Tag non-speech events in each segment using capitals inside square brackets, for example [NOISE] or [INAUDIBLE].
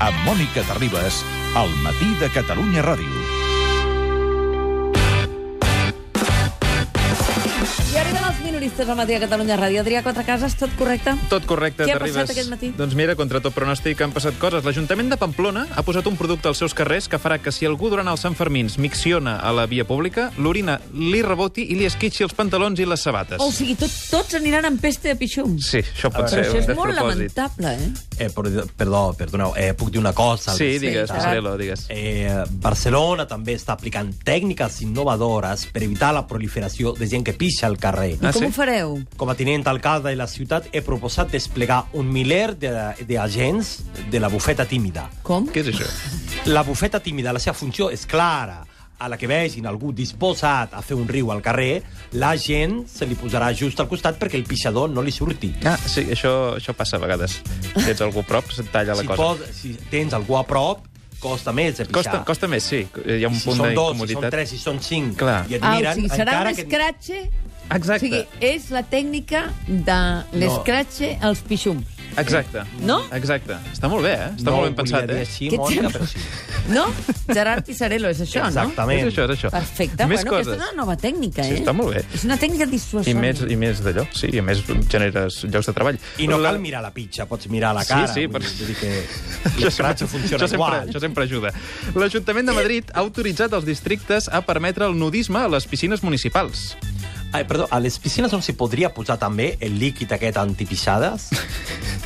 amb Mònica Terribas, al matí de Catalunya Ràdio. I arriben els minoristes al matí a Catalunya Ràdio. Adrià Quatre Cases, tot correcte? Tot correcte, Què ha t'arribes. passat aquest matí? Doncs mira, contra tot pronòstic han passat coses. L'Ajuntament de Pamplona ha posat un producte als seus carrers que farà que si algú durant els Sant Fermins micciona a la via pública, l'orina li reboti i li esquitxi els pantalons i les sabates. O sigui, tot, tots aniran amb peste de pixums. Sí, això pot Oh. Però ser això és un molt despropòsit. lamentable, eh? Eh, per- perdó, perdoneu, eh, puc dir una cosa? al Sí, respecte? digues, Sí, Pasarelo, digues. Eh, Barcelona també està aplicant tècniques innovadores per evitar la proliferació de gent que pixa al carrer. Ah, Com sí? ho fareu? Com a tinent alcalde de la ciutat he proposat desplegar un miler de- d'agents de, de la bufeta tímida. Com? Què és això? La bufeta tímida, la seva funció és clara. A la que vegin algú disposat a fer un riu al carrer, la gent se li posarà just al costat perquè el pixador no li surti. Ah, sí, això, això passa a vegades. Si ets algú a prop, se't talla la Si, cosa. pot, si tens algú a prop, costa més de pixar. Costa, costa més, sí. Hi ha un si punt són dos, si d'incomoditat. són tres, si són cinc, Clar. i et Ah, miren, o sigui, serà un encara que... escratxe? O Exacte. sigui, és la tècnica de l'escratxe als pixums. Exacte. No? Exacte. Està molt bé, eh? Està no molt ben ho volia pensat, dir eh? Així, Què Mònica, tens? però sí. No? Gerard Pisarello, és això, Exactament. És això, és això. no? Perfecte. Més bueno, coses. aquesta és una nova tècnica, Sí, eh? està molt bé. És una tècnica I dissuasòria. més, I més d'allò, sí, i a més generes llocs de treball. I no La- cal mirar la pitxa, pots mirar la Sí, cara. sí, vull, per- vull dir [LAUGHS] que Això l'escratxa funciona això sempre, igual. Això sempre ajuda. L'Ajuntament de Madrid ha autoritzat els districtes a permetre el nudisme a les piscines municipals. Ai, perdó, a les piscines on s'hi podria posar també el líquid aquest [LAUGHS] antipixades?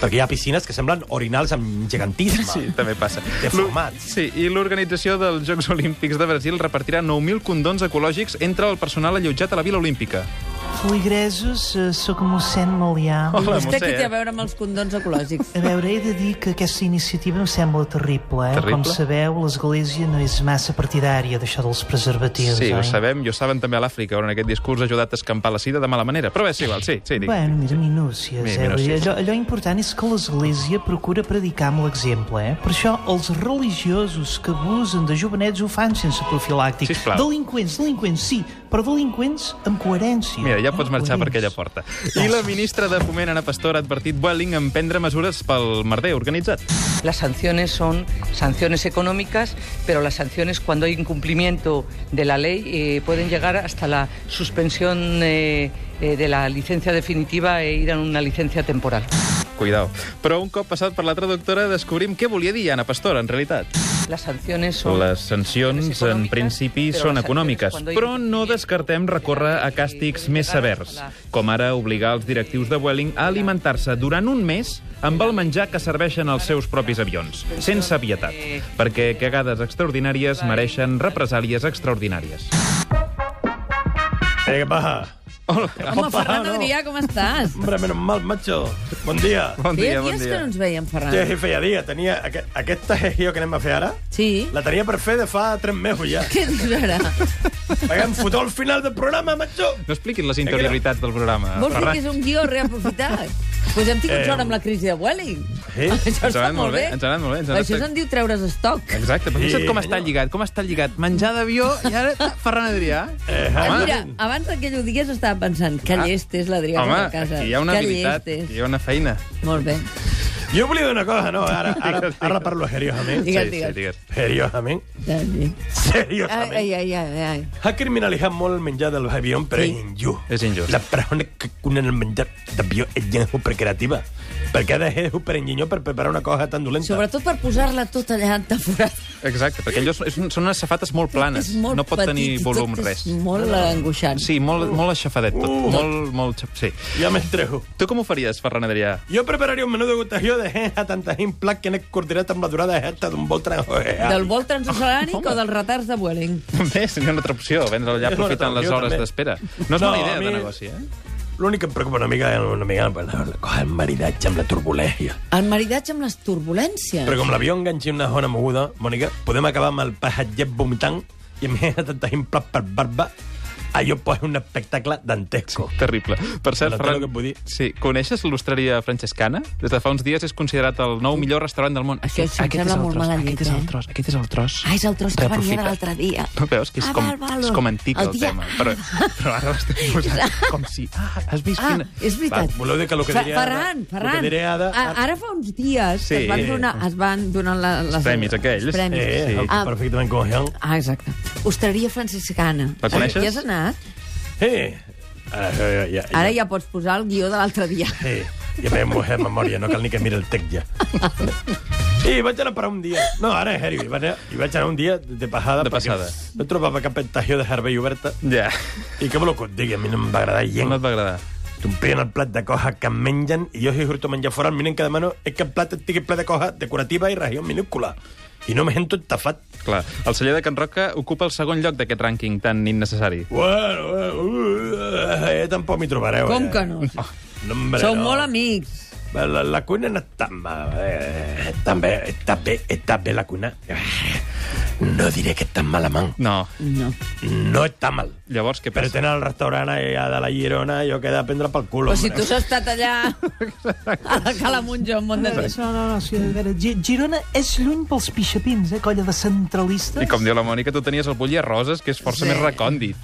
Perquè hi ha piscines que semblen orinals amb gegantisme. Sí, també passa. Deformats. L'or- Sí, i l'organització dels Jocs Olímpics de Brasil repartirà 9.000 condons ecològics entre el personal allotjat a la Vila Olímpica. Fui gresos, eh, sóc mossèn Melià. Oh. I Hola, vostè Montse, què té a eh? veure amb els condons [LAUGHS] ecològics? A veure, he de dir que aquesta iniciativa em sembla terrible, eh? Terrible? Com sabeu, l'Església no és massa partidària d'això dels preservatius, sí, oi? ho sabem, i ho saben també a l'Àfrica, on aquest discurs ha ajudat a escampar la sida de mala manera. Però bé, sí, igual, sí, sí, digui. Bueno, mira, minúcies, Mi- eh? Vull dir, minúcies. Allò, allò important és que l'Església procura predicar amb l'exemple, eh? Per això els religiosos que abusen de jovenets ho fan sense profilàctic. Sisplau. Delinqüents, delinqüents, sí, però delinqüents amb coherència. Mira, ja eh? pots marxar per Coherents. aquella porta. I la ministra de Foment, Ana Pastor, ha advertit Vueling a emprendre mesures pel merder organitzat. Las sanciones son sanciones económicas, pero las sanciones cuando hay incumplimiento de la ley eh, pueden llegar hasta la suspensión eh, eh, de la licencia definitiva e ir a una licencia temporal. Cuidao. Però un cop passat per la traductora descobrim què volia dir Ana Pastor, en realitat. Las sanciones son... Les sancions, en principi, són econòmiques, però no descartem recórrer a càstigs més severs, com ara obligar els directius de Vueling a alimentar-se durant un mes amb el menjar que serveixen els seus propis avions, sense pietat, perquè cagades extraordinàries mereixen represàlies extraordinàries. Eh, va. Hola. Home, Opa, Ferran no. Adrià, com estàs? Hombre, menos mal, macho. Bon dia. Bon Feia dia, bon dies que dia. no ens veiem, Ferran. Sí, feia dia. Tenia aqu aquesta gestió que anem a fer ara, Sí? la tenia per fer de fa tres mesos ja. Què dius ara? Perquè em fotó al final del programa, macho. No expliquin les interioritats del programa. Vols dir Ferran. que és un guió reaprofitat? Pues hem tingut sort amb la crisi de Welling. Sí? [LAUGHS] Això Eh, Ens ha està anat molt molt bé. bé, ens ha anat molt bé, ens ha anat Això tot- se'n diu treure's estoc. Exacte, però fixa't Sí, com està lligat, com està lligat. Menjar d'avió i [LAUGHS] ara Ferran Adrià. Eh, Ah, mira, abans d'aquell dies estava pensant que Ah. llest és l'Adrià home, a casa. aquí hi ha una que llest habilitat, aquí és. hi ha una feina. Molt bé. Jo volia dir una cosa, no? [LAUGHS] Ara, ara, ara parlo seriosament. Digues, sí, digues. sí, digues. Seriosament. Ja, sí. Ai, Seriosament. ai, ai, ai, ai. Ha criminalitzat molt el menjar de l'avió, però Sí. sí. és injust. És injust. La persona que cuina el menjar d'avió és gent supercreativa. Perquè ha de ser superenginyós per preparar una cosa tan dolenta. Sobretot per posar-la tota allà entaforada. Exacte, perquè allò és, són unes safates molt planes. És molt no pot petit tenir i volum, tot res. És molt angoixant. Sí, molt, molt aixafadet tot. Molt, molt... xaf- Sí. Ja m'entrego. Tu com ho faries, Ferran Adrià? [LAUGHS] Jo prepararia un menú de gustació de gent a tanta gent plat que n'he coordinat amb la durada aquesta d'un vol transversal. Del vol transoceànic Home. o dels retards de Welling? També seria una altra opció, vendre allà És una aprofitant altra les opció, hores també. d'espera. No és No, mala a idea de mi- negoci, eh? L'únic que em preocupa una mica és una mica la, la cosa del maridatge amb la turbulència. El maridatge amb les turbulències. Però com l'avió enganxi una zona moguda, Mònica, podem acabar amb el passatger vomitant i a més a tanta gent plat per barba allò és un espectacle dantesco. Terrible. Per cert, La tele que em vull dir. sí, coneixes l'Ostreria Francescana? Des de fa uns dies és considerat el nou millor restaurant del món. Això em sembla molt mal dit, aquest és eh? el tros, aquest és el tros. Ah, és el tros que venia de Reaprofita. l'altre dia. No veus que és Ah, com, val, val. és com antic el, El dia- tema, [LAUGHS] però, però ara l'estem posant com si... Ah, has vist Ah, quina... és veritat. Voleu dir que lo que Fa- diré ara- Ferran, lo que Ferran, diré ara- a- ara fa uns dies que Sí. es van donar, es van donar la, les, Els premis aquells. els premis. Eh, Sí. sí. Ah. perfectament coneixent. Ah, exacte. Ostreria franciscana. La coneixes? Hi has anat? Eh, ara, ja, ja, Ara ja pots posar el guió de l'altre dia. Eh, ja m'he mojat memòria, no cal ni que miri el tec ja. Sí, vaig anar per un dia. No, ara és heavy. Hi vaig anar, hi vaig anar un dia de passada. De perquè passada. No trobava cap pentació de cervell oberta. Ja, I que voleu que et digui? A mi no em va agradar gens. no et va agradar. T'omplien el plat de coses que em mengen i jo si surto a menjar fora el mínim que demano és que el plat estigui ple de coses decorativa i regió minúscula. I no me sento estafat. Clar, el celler de Can Roca ocupa el segon lloc d'aquest rànquing tan innecessari. Bueno, bueno, uh, eh, tampoc m'hi trobareu. Com eh. que no? No, hombre, Sou no. molt amics. La, la cuina no està mal. Eh, està bé, està bé, està bé la cuina. Eh, No diré que està malament. No. No. No està mal. Llavors, què Però passa? tenen el restaurant allà de la Girona, jo que he de prendre pel cul. Però Pues si hombre. tu has estat allà a la Cala Monja un munt de temps. No, no, no, sí, a veure, Gi- Girona és lluny pels pixapins, eh, colla de centralistes. I com diu la Mònica, tu tenies el bull a roses, que és força Sí. més recòndit.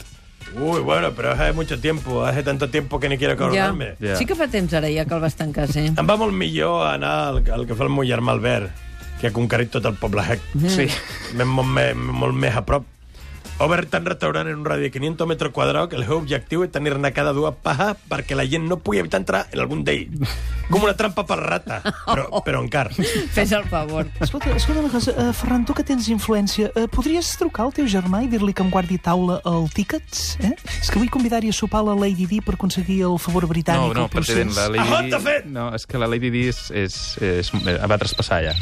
Uy, bueno, pero hace mucho tiempo, hace tanto tiempo que ni quiero Ja. acordarme. Ja. Sí que fa temps ara ja que el vas tancar, sí. Em va molt millor anar al, al que fa el meu germà Albert, que ha conquerit tot el poble sec. Sí. M'és molt, me- molt més a prop. Ha obert un restaurant en un radi de 500 metres quadrats que el seu objectiu és tenir-ne cada dues pajas perquè la gent no pugui evitar entrar en algun d'ells. Com una trampa per rata, però, però en car. Fes el favor. Escolta, escolta una cosa, eh, Ferran, tu que tens influència, eh, podries trucar al teu germà i dir-li que em guardi taula al Tickets? Eh? És que vull convidar-hi a sopar a la Lady Di per aconseguir el favor No, britànic. no, al procés. president, la Lady Ah, Di- t'ha fet! No, és que la Lady Di és, és, és, eh, va traspassar ja.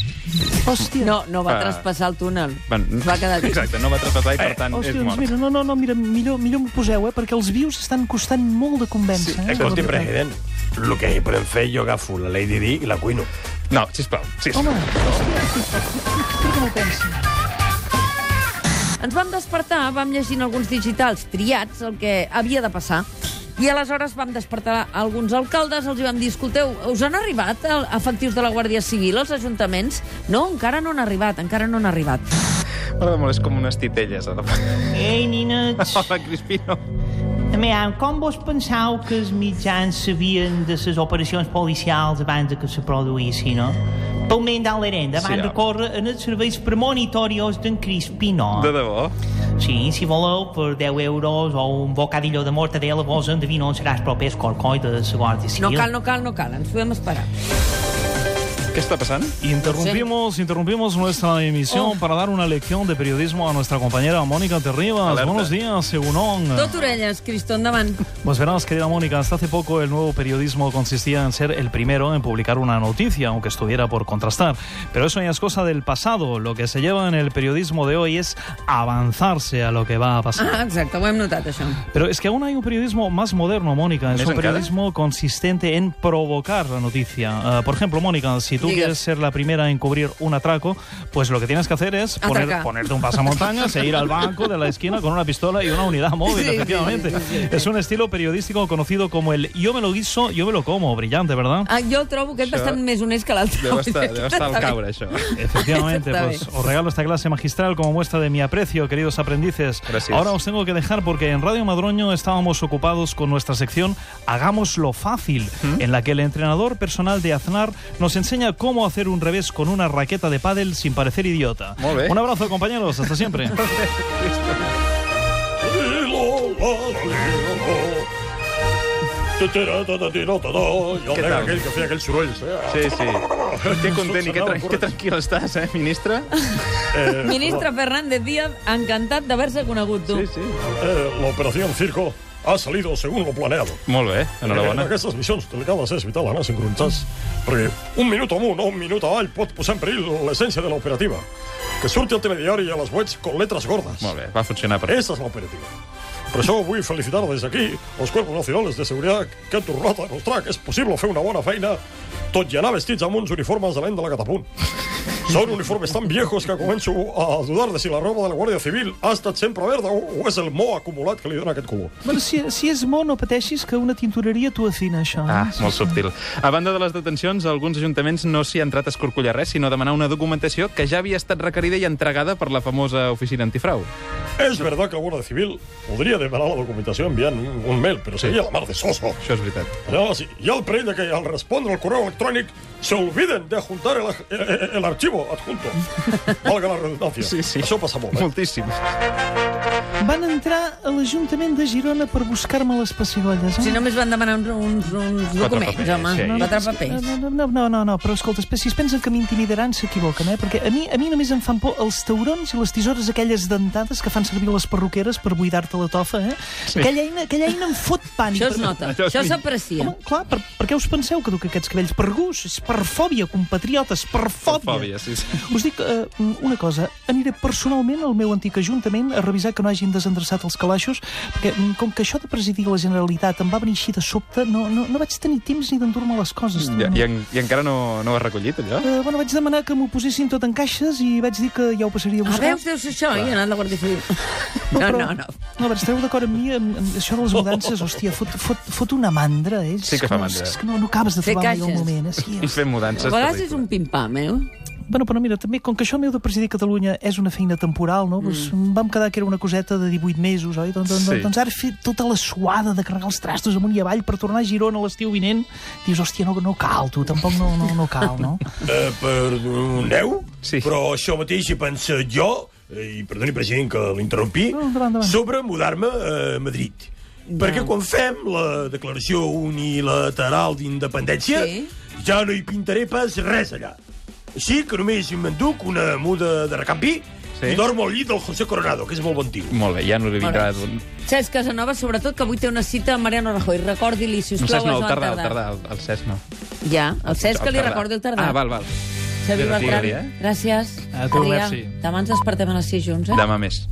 Hòstia, No, no va Ah. traspassar el túnel. Van... Es va quedar aquí. Exacte, no va traspassar i, per tant, hòstia, és doncs mort. mira, no, no, no, mira, millor, millor m'ho poseu, eh, perquè els vius estan costant molt de convèncer. eh, Escolti, la veritat. president, el que hi podem fer, jo agafo la Lady Di i la cuino. No, sisplau, sisplau. Home, hòstia, per què m'ho pensi? Ens vam despertar, vam llegint alguns digitals triats, el que havia de passar, i aleshores vam despertar alguns alcaldes, els hi vam dir, escolteu, us han arribat el- efectius de la Guàrdia Civil als ajuntaments? No, encara no han arribat, encara no han arribat. M'agrada molt, és com unes titelles. Ara. Ei, [LAUGHS] ninets, Hola, Crispino. a veure, com vos pensau que els mitjans sabien de les operacions policials abans de que se produïssin, no? Pel men d'Alerenda Sí, van home. recórrer en els serveis premonitorios d'en Crispino. De debò. Sí, si voleu, per 10 euros o un bocadillo de mortadela, vos endevino on seràs propers corcoi de la Guàrdia Civil. No cal, no cal, no cal, ens podem esperar. Què està passant? Interrumpimos, interrumpimos nuestra emisión para dar una lección de periodismo a nuestra compañera Mónica Terribas. Alerta. Buenos días, Segunón. Ah. Tot orelles, Cristo, endavant. Pues verás, querida Mónica, hasta hace poco el nuevo periodismo consistía en ser el primero en publicar una noticia, aunque estuviera por contrastar. Pero eso ya es cosa del pasado. Lo que se lleva en el periodismo de hoy es avanzarse a lo que va a pasar. Ah, exacte, ho hem notat, això. Pero es que aún hay un periodismo más moderno, Mónica. Es ¿Més un encara? periodismo consistente en provocar la noticia. Ah, por ejemplo, Mónica, si tú Digas. quieres ser la primera en cubrir un atraco, pues lo que tienes que hacer es poner- Atracar. ponerte un pasamontañas e ir al banco de la esquina con una pistola y una unidad móvil, Sí, sí, efectivamente. sí, sí, sí. Es un estilo periodístico conocido como el yo me lo guiso, yo me lo como. Brillante, ¿verdad? Ah, jo el trobo aquest Això bastant més honest que l'altre. Deu estar, deu estar al caure, això. Efectivamente, Está pues bien. os regalo esta clase magistral como muestra de mi aprecio, queridos aprendices. Gracias. Ahora os tengo que dejar porque en Radio Madroño estábamos ocupados con nuestra sección Hagámoslo Fácil, en la que el entrenador personal de Aznar nos enseña cómo hacer un revés con una raqueta de pádel sin parecer idiota. Muy bien. Un abrazo, compañeros. Hasta siempre. Què tal? Aquell que feia aquells sorolls. Eh? Sí, sí. Que content i que, tra que tranquil estàs, eh, ministre? Ministre Fernández Díaz, encantat d'haver-se conegut, tu. Sí, sí. Eh, la operación Circo ha salido según lo planeado. Molt bé, Eh, en enhorabona. aquestes missions eh, delicades és vital anar sincronitzats, perquè un minut amunt o un minut avall pot posar en perill l'essència de l'operativa. Que surti al telediari i a les webs con letras gordas. Molt bé, va funcionar per... Esa es la operativa. Per això vull felicitar des d'aquí els cuerpos nacionals de seguretat que han tornat a demostrar que és possible fer una bona feina tot i anar vestits amb uns uniformes de l'any de la catapunt. Son uniformes tan viejos que començo a dudar de si la roba de la Guàrdia Civil ha estat sempre verda o, o és el mo acumulat que li dona aquest color. [LAUGHS] Bueno, si, si és mo, no pateixis que una tintoreria t'ho afina, això. Ah, eh? Sí, molt sí. subtil. A banda de les detencions, alguns ajuntaments no s'hi han entrat a escorcollar res, sinó a demanar una documentació que ja havia estat requerida i entregada per la famosa oficina antifrau. És verdad que la Guàrdia Civil podria demanar la documentació enviant un, un mail, però seria la mar de soso. Això és veritat. Allà, sí, hi ha el perill de que al respondre al correu electrònic se olviden de juntar el, el, el arxivo adjunto. Valga la redundància. Sí, sí. Això passa molt. Eh? Moltíssim. Van entrar a l'Ajuntament de Girona per buscar-me les pessigolles. Eh? Si només van demanar uns, uns, uns documents, papers, home. sí. Quatre és que- papers. No, no, no, no, no, però escolta, espe- si es pensen que m'intimidaran s'equivoquen, eh? Perquè a mi, a mi només em fan por els taurons i les tisores aquelles dentades que fan servir les perruqueres per buidar-te la tofa, eh? Sí. Aquella, eina, aquella eina em fot pànic. Això es perquè- nota, Això és això mi- s'aprecia. Home, clar, per, per què us penseu que duc aquests cabells? Per gust, és per fòbia, compatriotes, per fòbia. Fòbia, sí, sí. Us dic eh, una cosa, aniré personalment al meu antic ajuntament a revisar que no hagin desendreçat els calaixos, perquè mm, com que això de presidir la Generalitat em va venir així de sobte, no, no, no vaig tenir temps ni d'endur-me les coses. I, i, en, i encara no, no ho has recollit, allò? Eh, bueno, vaig demanar que m'ho posessin tot en caixes i vaig dir que ja ho passaria a Ah, buscar. veus, deu ser això, i ha anat la Guàrdia Civil. [LAUGHS] No, però- no, no. No, però esteu d'acord amb mi, amb, amb això de les mudances, hòstia, fot, fot, fot una mandra, eh? Oh. Sí És que fa no, mandra. És que no, no acabes de Fer trobar mai el caixes. moment. Eh? Sí, I fem mudances. A vegades és terrible. un pim-pam, eh? Bueno, però mira, també, com que això meu de presidir Catalunya és una feina temporal, no? Mm. Pues, vam quedar que era una coseta de 18 mesos, oi? Doncs, doncs, Sí. sí. doncs ara fer tota la suada de carregar els trastos amunt i avall per tornar a Girona l'estiu vinent, dius, hòstia, no, no cal, tu, tampoc no, no, no cal, no? Eh, perdoneu, Sí. però això mateix he pensat jo, eh, i perdoni, president, que l'interrompi, No, endavant, endavant. sobre mudar-me a Madrid. Perquè quan fem la declaració unilateral d'independència, Sí. ja no hi pintaré pas res allà. Així que només m'enduc una muda de recanvi Sí. i dormo al llit del José Coronado, que és molt bon tio. Molt bé, ja no li vindrà... Cesc Casanova, sobretot, que avui té una cita amb Mariano Rajoy. Recordi-li, si us El plau, Cesc no, a el Joan tardà, el Tardà. tardà, el, el Cesc no. Ja, el Cesc El que li Tardà. recordi el Tardà. Ah, val, val. Xavier Gràcies, Bertran, eh? gràcies. A tu, Adrià, merci. Demà ens despertem a les 6 junts, eh? Demà més.